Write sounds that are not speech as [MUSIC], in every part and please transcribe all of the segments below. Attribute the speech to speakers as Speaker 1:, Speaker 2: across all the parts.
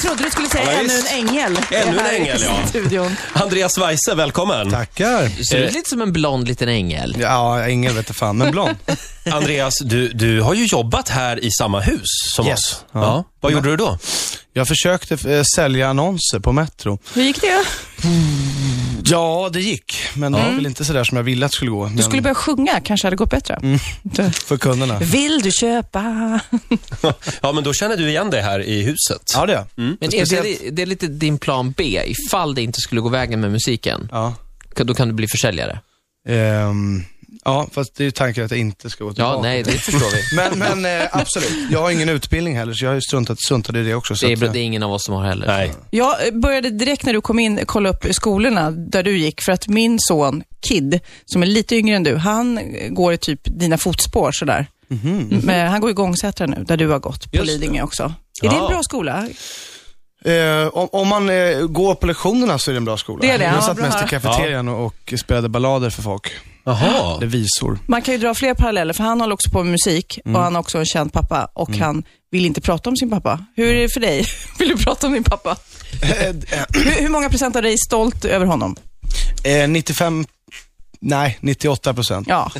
Speaker 1: trodde du skulle säga
Speaker 2: Ja,
Speaker 1: ännu
Speaker 2: visst.
Speaker 1: en ängel.
Speaker 2: Ännu en
Speaker 1: här
Speaker 2: ängel,
Speaker 1: i
Speaker 2: ja.
Speaker 1: Studion.
Speaker 2: Andreas Weise, välkommen.
Speaker 3: Tackar.
Speaker 4: Du ser ut lite som en blond liten ängel.
Speaker 3: Ja, ängel vete fan, men blond.
Speaker 2: Andreas, du, du har ju jobbat här i samma hus [LAUGHS] som
Speaker 3: Yes.
Speaker 2: oss. Ja.
Speaker 3: Ja.
Speaker 2: Vad gjorde du då?
Speaker 3: Jag försökte eh, sälja annonser på Metro.
Speaker 1: Hur gick det?
Speaker 3: Ja, det gick, men det var väl inte sådär som jag ville att det skulle gå.
Speaker 1: Du
Speaker 3: Men
Speaker 1: skulle börja sjunga, kanske hade gått bättre.
Speaker 2: Mm.
Speaker 3: För kunderna.
Speaker 1: Vill du köpa?
Speaker 2: Ja, men då känner du igen det här i huset.
Speaker 3: Ja, det.
Speaker 2: Mm.
Speaker 4: Men är det, det är lite din plan B, ifall det inte skulle gå vägen med musiken.
Speaker 3: Ja.
Speaker 4: Då kan du bli försäljare.
Speaker 3: Ehm, ja, fast det är ju tanken att jag inte ska gå tillbaka.
Speaker 4: Ja, nej, det förstår
Speaker 3: [LAUGHS]
Speaker 4: vi.
Speaker 3: Men, men eh, absolut. Jag har ingen utbildning heller, så jag har ju struntat, struntat i det också. Så
Speaker 4: Det är,
Speaker 3: att, eh,
Speaker 4: det är ingen av oss som har heller.
Speaker 2: Nej.
Speaker 1: Jag eh, började direkt när du kom in kolla upp skolorna där du gick för att min son Kid, som är lite yngre än du, han eh, går i typ dina fotspår sådär. Mm. Men han går i Gångsätra nu, där du har gått på
Speaker 2: Mhm, Just det.
Speaker 1: Lidingö också. Är det en bra skola?
Speaker 3: Eh, om, om man eh, går på lektionerna så är det en bra skola.
Speaker 1: Det är det, ja,
Speaker 3: jag satt
Speaker 1: bra.
Speaker 3: mest i kafeterian och, och spelade ballader för folk.
Speaker 2: Jaha.
Speaker 3: Eller visor.
Speaker 1: Man kan ju dra fler paralleller, för han håller också på med musik
Speaker 3: Mm.
Speaker 1: och han har också en känd pappa och han vill inte prata om sin pappa. Hur är det för dig? [LAUGHS] Vill du prata om din pappa? hur, hur många procent av dig är stolt över honom?
Speaker 3: Eh, 95, nej 98 procent.
Speaker 1: Ja,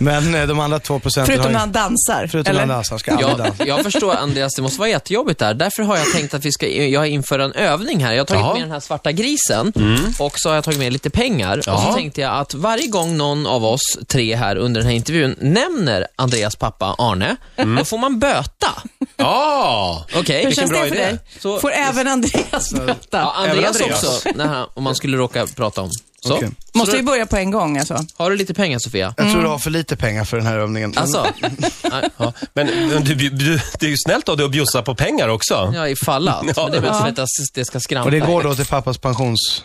Speaker 3: Men eh, de andra två procenten
Speaker 1: förutom när
Speaker 3: har ju,
Speaker 1: han dansar.
Speaker 3: Förutom
Speaker 1: eller?
Speaker 3: han dansar, han ska aldrig
Speaker 4: Jag,
Speaker 3: dansa.
Speaker 4: jag förstår Andreas, det måste vara jättejobbigt där. Därför har jag tänkt att vi ska jag införa en övning här. Jag har tagit
Speaker 2: Jaha.
Speaker 4: med den här svarta grisen och så har jag tagit med lite pengar. Och
Speaker 2: Jaha.
Speaker 4: så tänkte jag att varje gång någon av oss tre här under den här intervjun nämner Andreas pappa Arne, då får man böta.
Speaker 2: Ja.
Speaker 4: Okej,
Speaker 1: Hur
Speaker 4: vilken
Speaker 1: känns
Speaker 4: bra
Speaker 1: det för
Speaker 4: idé.
Speaker 1: dig?
Speaker 4: Så-
Speaker 1: Får även Andreas böta?
Speaker 4: Ja, Andreas,
Speaker 2: Även Andreas.
Speaker 4: också, när han, om man skulle råka prata om. Så.
Speaker 3: Okej.
Speaker 1: Måste vi börja på en gång alltså?
Speaker 4: Har du lite pengar Sofia?
Speaker 3: Jag tror du har för lite pengar för den här övningen.
Speaker 4: Alltså, [LAUGHS]
Speaker 2: Ja. Men, men du, bju- du, det är ju snällt av dig att bjussa på pengar också.
Speaker 4: ja, ifall att. Men det är väl så att det ska skrampa.
Speaker 3: Och det går då till pappas pensions...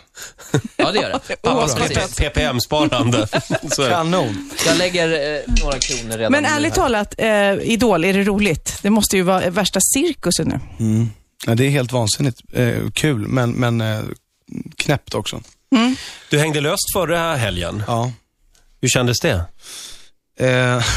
Speaker 4: Ja, det gör det. Pappa,
Speaker 2: Pappas
Speaker 4: precis.
Speaker 2: P-
Speaker 4: [LAUGHS]
Speaker 2: PPM-sparande. Så är det.
Speaker 3: Kanon.
Speaker 4: Jag lägger eh, några kronor redan
Speaker 1: Men
Speaker 4: nu
Speaker 1: ärligt
Speaker 4: här.
Speaker 1: talat, eh, Idol, är det roligt? Det måste ju vara värsta cirkusen nu.
Speaker 3: Mm. Ja, det är helt vansinnigt eh, kul, men, men eh, knäppt också.
Speaker 2: Du hängde löst förra helgen.
Speaker 3: Ja.
Speaker 2: Hur kändes det?
Speaker 3: Eh, [LAUGHS]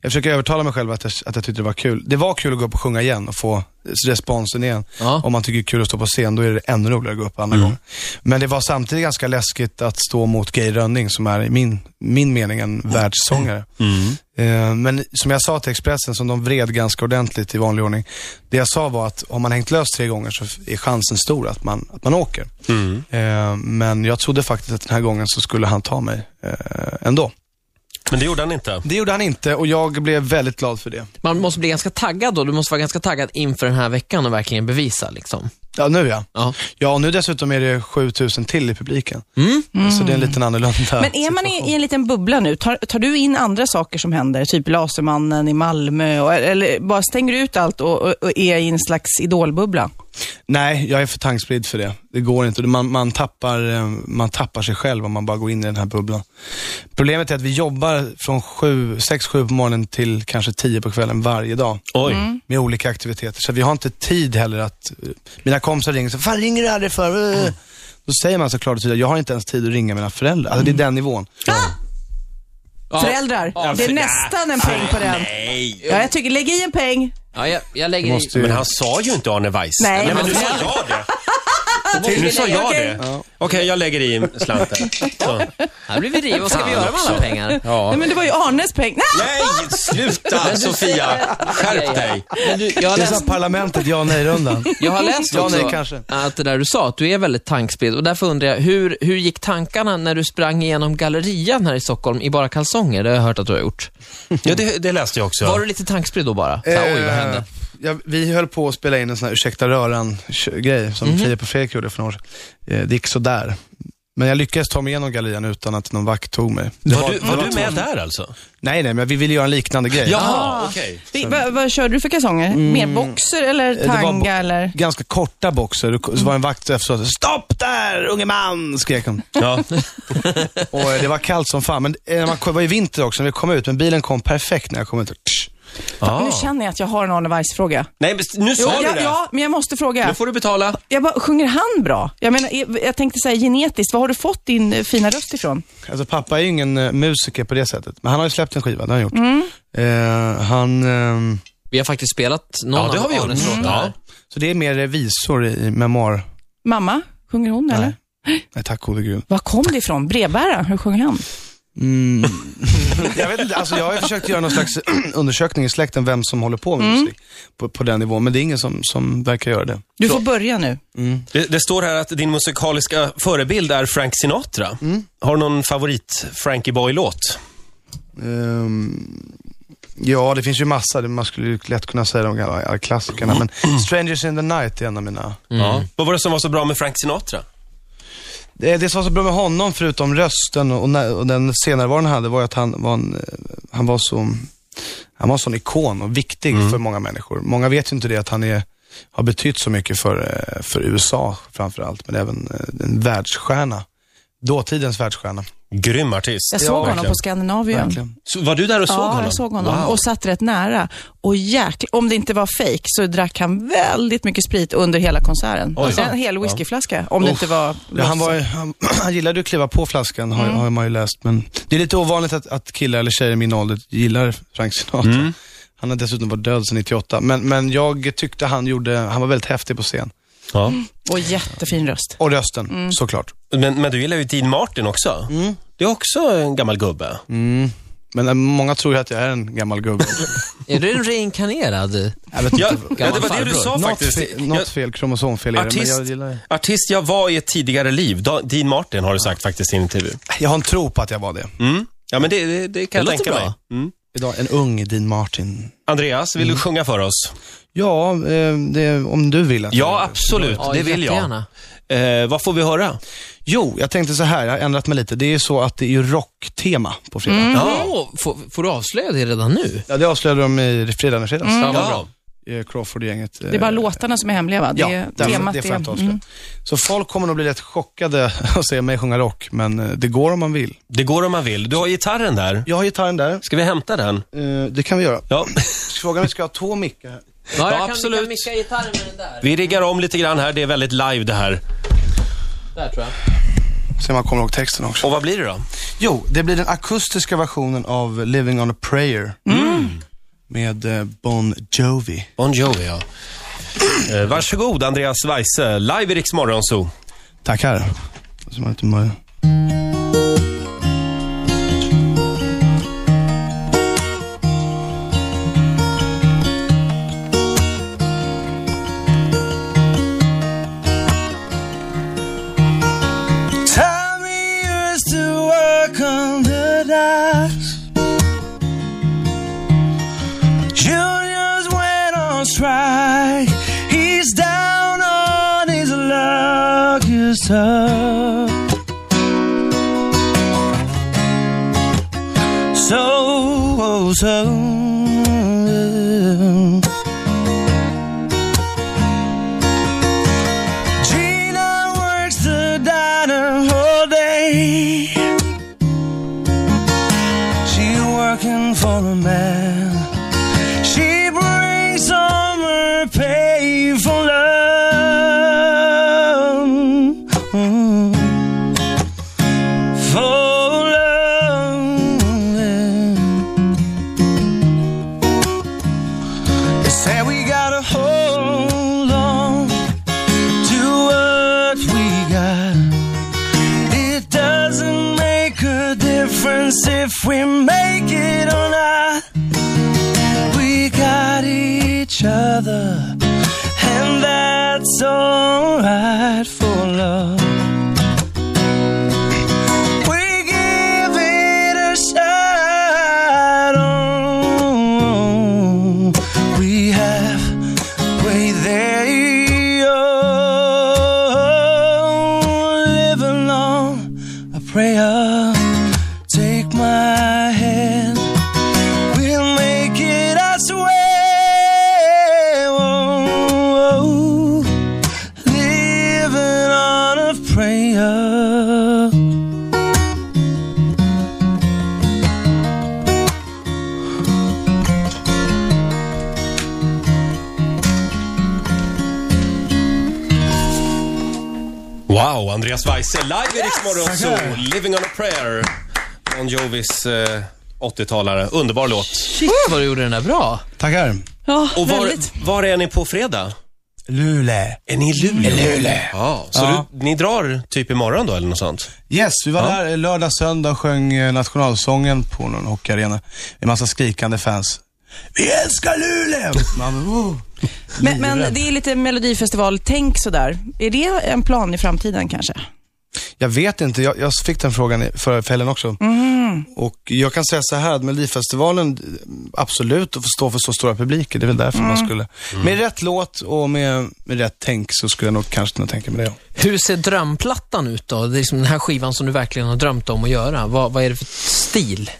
Speaker 3: jag försöker övertala mig själv att jag, att jag tyckte det var kul. Det var kul att gå upp och sjunga igen och få responsen igen.
Speaker 4: Ja.
Speaker 3: Om man tycker det är kul att stå på scen, då är det ännu roligare att gå upp andra gånger. Men det var samtidigt ganska läskigt att stå mot Gay Rönning, som är i min, min mening en världssångare.
Speaker 2: Mm.
Speaker 4: Mm.
Speaker 3: Eh, Men som jag sa till Expressen, som de vred ganska ordentligt i vanlig ordning. Det jag sa var att om man hängt löst tre gånger så är chansen stor att man, att man åker. Eh, Men jag trodde faktiskt att den här gången så skulle han ta mig eh, ändå.
Speaker 2: Men det gjorde han inte.
Speaker 3: Det gjorde han inte och jag blev väldigt glad för det.
Speaker 4: Man måste bli ganska taggad då. Du måste vara ganska taggad inför den här veckan och verkligen bevisa liksom.
Speaker 3: Ja, nu ja.
Speaker 4: Ja.
Speaker 3: Ja, och nu dessutom är det 7000 till i publiken.
Speaker 2: Mm.
Speaker 3: Så det är en liten annorlunda
Speaker 1: Men är man
Speaker 3: situation.
Speaker 1: i, i en liten bubbla nu? Tar, tar du in andra saker som händer? Typ Lasermannen i Malmö? Och, eller bara stänger du ut allt och, och, och är i en slags idolbubbla?
Speaker 3: Nej, jag är för tankspridd för det. Det går inte. Man, man, tappar, eh, man tappar sig själv om man bara går in i den här bubblan. Problemet är att vi jobbar från 6-7 på morgonen till kanske 10 på kvällen varje dag.
Speaker 2: Oj.
Speaker 1: Mm.
Speaker 3: med olika aktiviteter. Så vi har inte tid heller att... eh, Mina kompisar ringer så fan ringer du aldrig för?
Speaker 2: Mm.
Speaker 3: Eh." Då säger man så klart och tydligt, jag har inte ens tid att ringa mina föräldrar. Alltså det är den nivån.
Speaker 1: Ah! Föräldrar, det är
Speaker 2: för-
Speaker 1: nästan en peng på den.
Speaker 2: Nej.
Speaker 1: Ja, jag tycker, lägg i en peng.
Speaker 4: Ja, jag, jag lägger
Speaker 3: Måste
Speaker 4: i.
Speaker 3: ju-
Speaker 2: Men han sa ju inte Arne Weiss.
Speaker 1: Nej.
Speaker 2: men nu sa jag det.
Speaker 4: Måste
Speaker 2: Nu
Speaker 4: vi
Speaker 2: sa
Speaker 4: lägga-
Speaker 2: jag
Speaker 1: okej.
Speaker 2: det. Okej, jag lägger i slanten. Så.
Speaker 4: Här blir vi riv. Vad ska vi göra med alla pengar?
Speaker 2: Ja.
Speaker 1: Nej, men det var ju Arnes peng. Nej!
Speaker 2: Nej, sluta Sofia. Skärp dig.
Speaker 4: Men du, jag har
Speaker 3: Det är så
Speaker 4: läst,
Speaker 3: här parlamentet, ja nej-rundan.
Speaker 4: jag har läst
Speaker 3: Ja, nej,
Speaker 4: också
Speaker 3: kanske.
Speaker 4: att det där du sa, att du är väldigt tankspridd. Och därför undrar jag, hur, hur gick tankarna när du sprang igenom gallerian här i Stockholm i bara kalsonger? Det har jag hört att du har gjort.
Speaker 2: Ja, det, det läste jag
Speaker 4: Var
Speaker 2: också.
Speaker 4: du lite tankspridd då bara? Så här, Oj, vad hände?
Speaker 3: Eh, Ja, vi höll på att spela in en sån här ursäkta röran-grej som
Speaker 4: Mhm.
Speaker 3: Filip och Fredrik gjorde för några år sedan. Eh, Det gick sådär. Men jag lyckades ta mig igenom gallerian utan att någon vakt tog mig. Det
Speaker 2: Var du,
Speaker 3: det
Speaker 2: var du
Speaker 3: två-
Speaker 2: med där alltså?
Speaker 3: Nej, nej, men vi ville göra en liknande grej.
Speaker 2: Jaha, okej.
Speaker 1: Vi- Vad vad körde du för kalsonger? Mer boxer eller
Speaker 3: Mm. Eh, det var bo-
Speaker 1: tanga eller?
Speaker 3: Ganska korta boxer. Och Så var en vakt efteråt. Stopp där, unge man! Skrek hon.
Speaker 2: Ja.
Speaker 3: Och eh, det var kallt som fan. Men eh, när man kom, det var ju vinter också när vi kom ut, men bilen kom perfekt när jag kom ut. Tsch.
Speaker 1: Nu känner jag att jag har en Arne Weiss-fråga.
Speaker 2: Nej, men nu
Speaker 1: Jo,
Speaker 2: sa du
Speaker 1: ja,
Speaker 2: det.
Speaker 1: ja, men jag måste fråga.
Speaker 4: Nu får du betala.
Speaker 1: Jag bara, sjunger han bra? Jag menar, jag- jag tänkte säga genetiskt, var har du fått din eh, fina röst ifrån?
Speaker 3: Alltså pappa är ju ingen eh, musiker på det sättet, men han har ju släppt en skiva, det har han gjort.
Speaker 4: Mm.
Speaker 3: Eh, han, ehm,
Speaker 4: Vi har faktiskt spelat någon
Speaker 2: Ja, det
Speaker 4: av
Speaker 2: har vi gjort. Mm.
Speaker 4: Arnes låtar
Speaker 2: Ja.
Speaker 4: här.
Speaker 3: så Så det är mer visor i memoar.
Speaker 1: Mamma, sjunger hon eller?
Speaker 3: Nej, tack gode gud.
Speaker 1: Var kom det ifrån? Brevbäraren, hur sjunger han?
Speaker 3: Mm. [LAUGHS] jag vet inte, alltså jag har ju försökt göra någon slags [CLEARS THROAT] undersökning i släkten vem som håller på med musik på, på den nivån, men det är ingen som, som verkar göra det.
Speaker 1: Du får börja nu.
Speaker 2: Det, det står här att din musikaliska förebild är Frank Sinatra. Har du någon favorit Frankie Boy-låt?
Speaker 3: Ehm, ja, det finns ju massa, det- man skulle ju lätt kunna säga de gamla alla klassikerna, [CLEARS THROAT] men Strangers in the Night är en av mina.
Speaker 2: Ja. Vad var det som var så bra med Frank Sinatra?
Speaker 3: Det, det som var så bra med honom, förutom rösten och, när, och den senarvaron han hade, var ju att han var, en, eh, han var så han var en sån ikon och viktig för många människor. Många vet ju inte det att han är, har betytt så mycket för, eh, för USA framförallt, men även eh, en världsstjärna. Dåtidens världsstjärna.
Speaker 2: Grym artist.
Speaker 1: Jag såg honom
Speaker 3: verkligen.
Speaker 1: på Skandinavien.
Speaker 3: Verkligen.
Speaker 2: Så var du där och såg
Speaker 1: ja,
Speaker 2: honom?
Speaker 1: jag såg honom
Speaker 2: Wow.
Speaker 1: och satt rätt nära. Och jäkla, om det inte var fake så drack han väldigt mycket sprit under hela konserten.
Speaker 2: Oj.
Speaker 1: Alltså, en hel whiskyflaska, om det inte var
Speaker 3: Ja, han, var,
Speaker 1: lossen.
Speaker 3: ju- han, [CLEARS THROAT] han gillade ju att kliva på flaskan, har, har man ju läst. Men det är lite ovanligt att, att killar eller tjejer i min ålder gillar Frank Sinatra. Han har dessutom varit död sedan 98. Men, men jag tyckte han gjorde, han var väldigt häftig på scen.
Speaker 2: Ja.
Speaker 1: Och jättefin röst.
Speaker 3: Och rösten,
Speaker 1: Mm.
Speaker 3: såklart.
Speaker 2: Men, men du gillar ju Dean Martin också. Det är också en gammal gubbe.
Speaker 3: Men eh, många tror ju att jag är en
Speaker 1: [LAUGHS]
Speaker 3: gammal gubbe.
Speaker 4: Är du en reinkarnerad?
Speaker 3: Jag vet inte.
Speaker 2: Ja, ja, det var det du
Speaker 4: farbror.
Speaker 2: sa
Speaker 3: något,
Speaker 2: faktiskt.
Speaker 3: fe,
Speaker 2: Jag,
Speaker 3: något fel kromosomfel är det, men jag
Speaker 2: artist,
Speaker 3: gillar det.
Speaker 2: artist jag var i ett tidigare liv. Da- Dean Martin har du sagt faktiskt i en intervju.
Speaker 3: Jag har en tro på att jag var det.
Speaker 2: Mm. Ja, men det, det, det kan
Speaker 4: Det
Speaker 2: jag
Speaker 4: låter
Speaker 2: tänka mig.
Speaker 4: bra.
Speaker 2: Mm.
Speaker 3: Idag, en ung Dean Martin.
Speaker 2: Andreas, vill du sjunga för oss?
Speaker 3: Ja, eh, det, om du vill att
Speaker 2: Ja, absolut.
Speaker 4: Ja,
Speaker 2: det vill jag.
Speaker 4: jättegärna.
Speaker 2: Eh, vad får vi höra?
Speaker 3: Jo, jag tänkte så här, jag har ändrat mig lite. Det är ju så att det är ju rocktema på fredag.
Speaker 1: Mm.
Speaker 4: Ja. får, får du avslöja det redan nu?
Speaker 3: Ja, det avslöjade de i fredagen i fredags.
Speaker 4: Ja, vad
Speaker 2: Ja.
Speaker 4: bra.
Speaker 3: Eh, Crawford-gänget.
Speaker 1: Mm.
Speaker 3: eh,
Speaker 1: Det är bara låtarna som är hemliga va? Det,
Speaker 3: Ja,
Speaker 1: är-
Speaker 3: det,
Speaker 1: temat
Speaker 3: det får jag inte
Speaker 1: är-
Speaker 3: avslöja.
Speaker 1: mm.
Speaker 3: Så folk kommer nog bli rätt chockade [LAUGHS] att se mig sjunga rock, men eh, det går om man vill.
Speaker 2: Det går om man vill. Du har gitarren där.
Speaker 3: Jag har gitarren där.
Speaker 2: Ska vi hämta den?
Speaker 3: Eh, Det kan vi göra.
Speaker 2: Ja.
Speaker 3: Frågan är, ska jag ha två mickar? här?
Speaker 4: Ja, jag
Speaker 2: absolut.
Speaker 4: Kan, kan micka gitarren med den där.
Speaker 2: Vi riggar om lite grann här. Det är väldigt live det här.
Speaker 4: Där tror jag.
Speaker 3: Se om man kommer ihåg texten också.
Speaker 2: Och vad blir det då?
Speaker 3: Jo, det blir den akustiska versionen av Living on a prayer. Med eh, Bon Jovi.
Speaker 2: Bon Jovi, ja. Eh, varsågod, Andreas Weise. Live i Rix Morgon Zoo.
Speaker 3: Tackar. Så man inte mår- Time we used to work on the docks. Juniors went on strike. He's down on his luck. His tough. So, oh, so. Gina works the diner all day. She working for a man. She brings home her pay for love. For love. They say we gotta hold on to what we got. It doesn't make a difference if we make it or not. We got each other, and that's alright for love. We give it a shot. Oh, we halfway there. Oh, live along a prayer. Take my hand. We'll make it, I swear. Oh, living on a prayer.
Speaker 2: Wow, Andreas Weise. Live i Rix Morgon Zoo. Living on a prayer. Bon Jovis eh, 80-talare. Underbar låt.
Speaker 4: Shit vad du gjorde den där bra.
Speaker 3: Tackar.
Speaker 1: Ja,
Speaker 2: Och var,
Speaker 1: väldigt.
Speaker 2: var är ni på fredag?
Speaker 3: Luleå.
Speaker 2: Är ni i Luleå?
Speaker 3: I Luleå.
Speaker 2: Ja, så
Speaker 3: Ja.
Speaker 2: Du, ni drar typ imorgon då, eller något sånt?
Speaker 3: Yes, vi var där eh, lördag, söndag och sjöng eh, nationalsången på någon hockeyarena. En massa skrikande fans. Vi älskar Luleå! Man, oh.
Speaker 1: Men, men det är lite Melodifestival-tänk sådär. Är det en plan i framtiden kanske?
Speaker 3: Jag vet inte, jag, jag fick den frågan i- förra kvällen också. Och jag kan säga så här att Melodifestivalen, eh, absolut, att få stå för så stora publiker, det är väl därför man skulle. Med rätt låt och med, med rätt tänk så skulle jag nog kanske kunna tänka mig det. ja.
Speaker 4: Hur ser drömplattan ut då? Det är liksom den här skivan som du verkligen har drömt om att göra. Vad, vad är det för stil?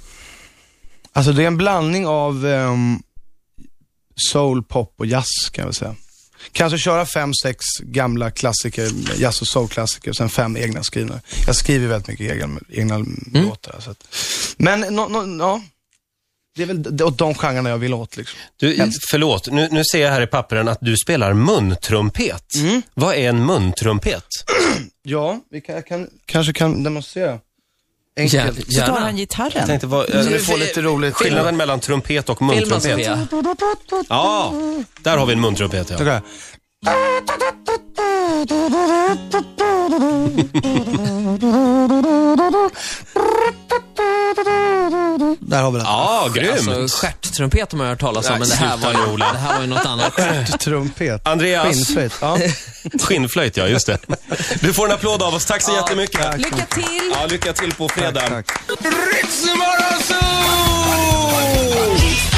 Speaker 3: Alltså det är en blandning av ehm, soul, pop och jazz kan jag väl säga. Kanske köra fem, sex gamla klassiker, jazz och soulklassiker, och sen fem egna skrivna. Jag skriver väldigt mycket egna, egna låtar. Så att. Men, no, no, ja. Det är väl d- åt de genrerna jag vill åt liksom.
Speaker 2: Du, förlåt, nu, nu ser jag här i pappren att du spelar muntrumpet.
Speaker 3: Mm.
Speaker 2: Vad är en muntrumpet?
Speaker 3: Ja, vi kan, jag kan, kanske kan demonstrera.
Speaker 4: Ja,
Speaker 3: Enkelt.
Speaker 1: Så tar
Speaker 4: gärna.
Speaker 1: han gitarren.
Speaker 2: Jag tänkte, vad,
Speaker 3: Så
Speaker 2: eh,
Speaker 3: vi Mm. får lite roligt.
Speaker 2: skillnaden mellan trumpet och
Speaker 4: Filma
Speaker 2: muntrumpet.
Speaker 4: Sofia.
Speaker 2: Ja, där har vi en muntrumpet. Ja.
Speaker 3: Okej. Där har vi den.
Speaker 2: Ja, Ah, grymt.
Speaker 4: Alltså, stjärttrumpet har man hört talas om,
Speaker 2: Nej,
Speaker 4: men det här, var
Speaker 2: sluta nu,
Speaker 4: ju,
Speaker 2: Ola.
Speaker 4: det här var ju något annat.
Speaker 2: [LAUGHS]
Speaker 3: Trumpet.
Speaker 2: Andreas.
Speaker 3: Skinnflöjt. Ja.
Speaker 2: Skinnflöjt, ja just det. Du får en applåd av oss. Tack så jättemycket.
Speaker 1: Lycka till!
Speaker 2: Ja, lycka till på fredag.
Speaker 3: Tack, tack.
Speaker 2: Ritzmorgonzoo!
Speaker 5: Riks